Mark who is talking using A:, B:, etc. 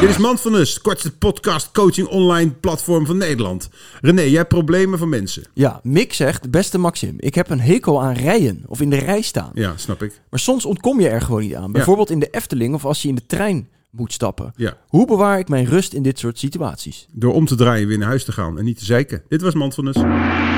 A: Dit is Mand van Us, kortste podcast coaching online platform van Nederland. René, jij hebt problemen van mensen.
B: Ja, Mick zegt, beste Maxim, ik heb een hekel aan rijen of in de rij staan.
A: Ja, snap ik.
B: Maar soms ontkom je er gewoon niet aan. Bijvoorbeeld in de Efteling of als je in de trein moet stappen.
A: Ja.
B: Hoe bewaar ik mijn rust in dit soort situaties?
A: Door om te draaien weer naar huis te gaan en niet te zeiken. Dit was Mand van Us.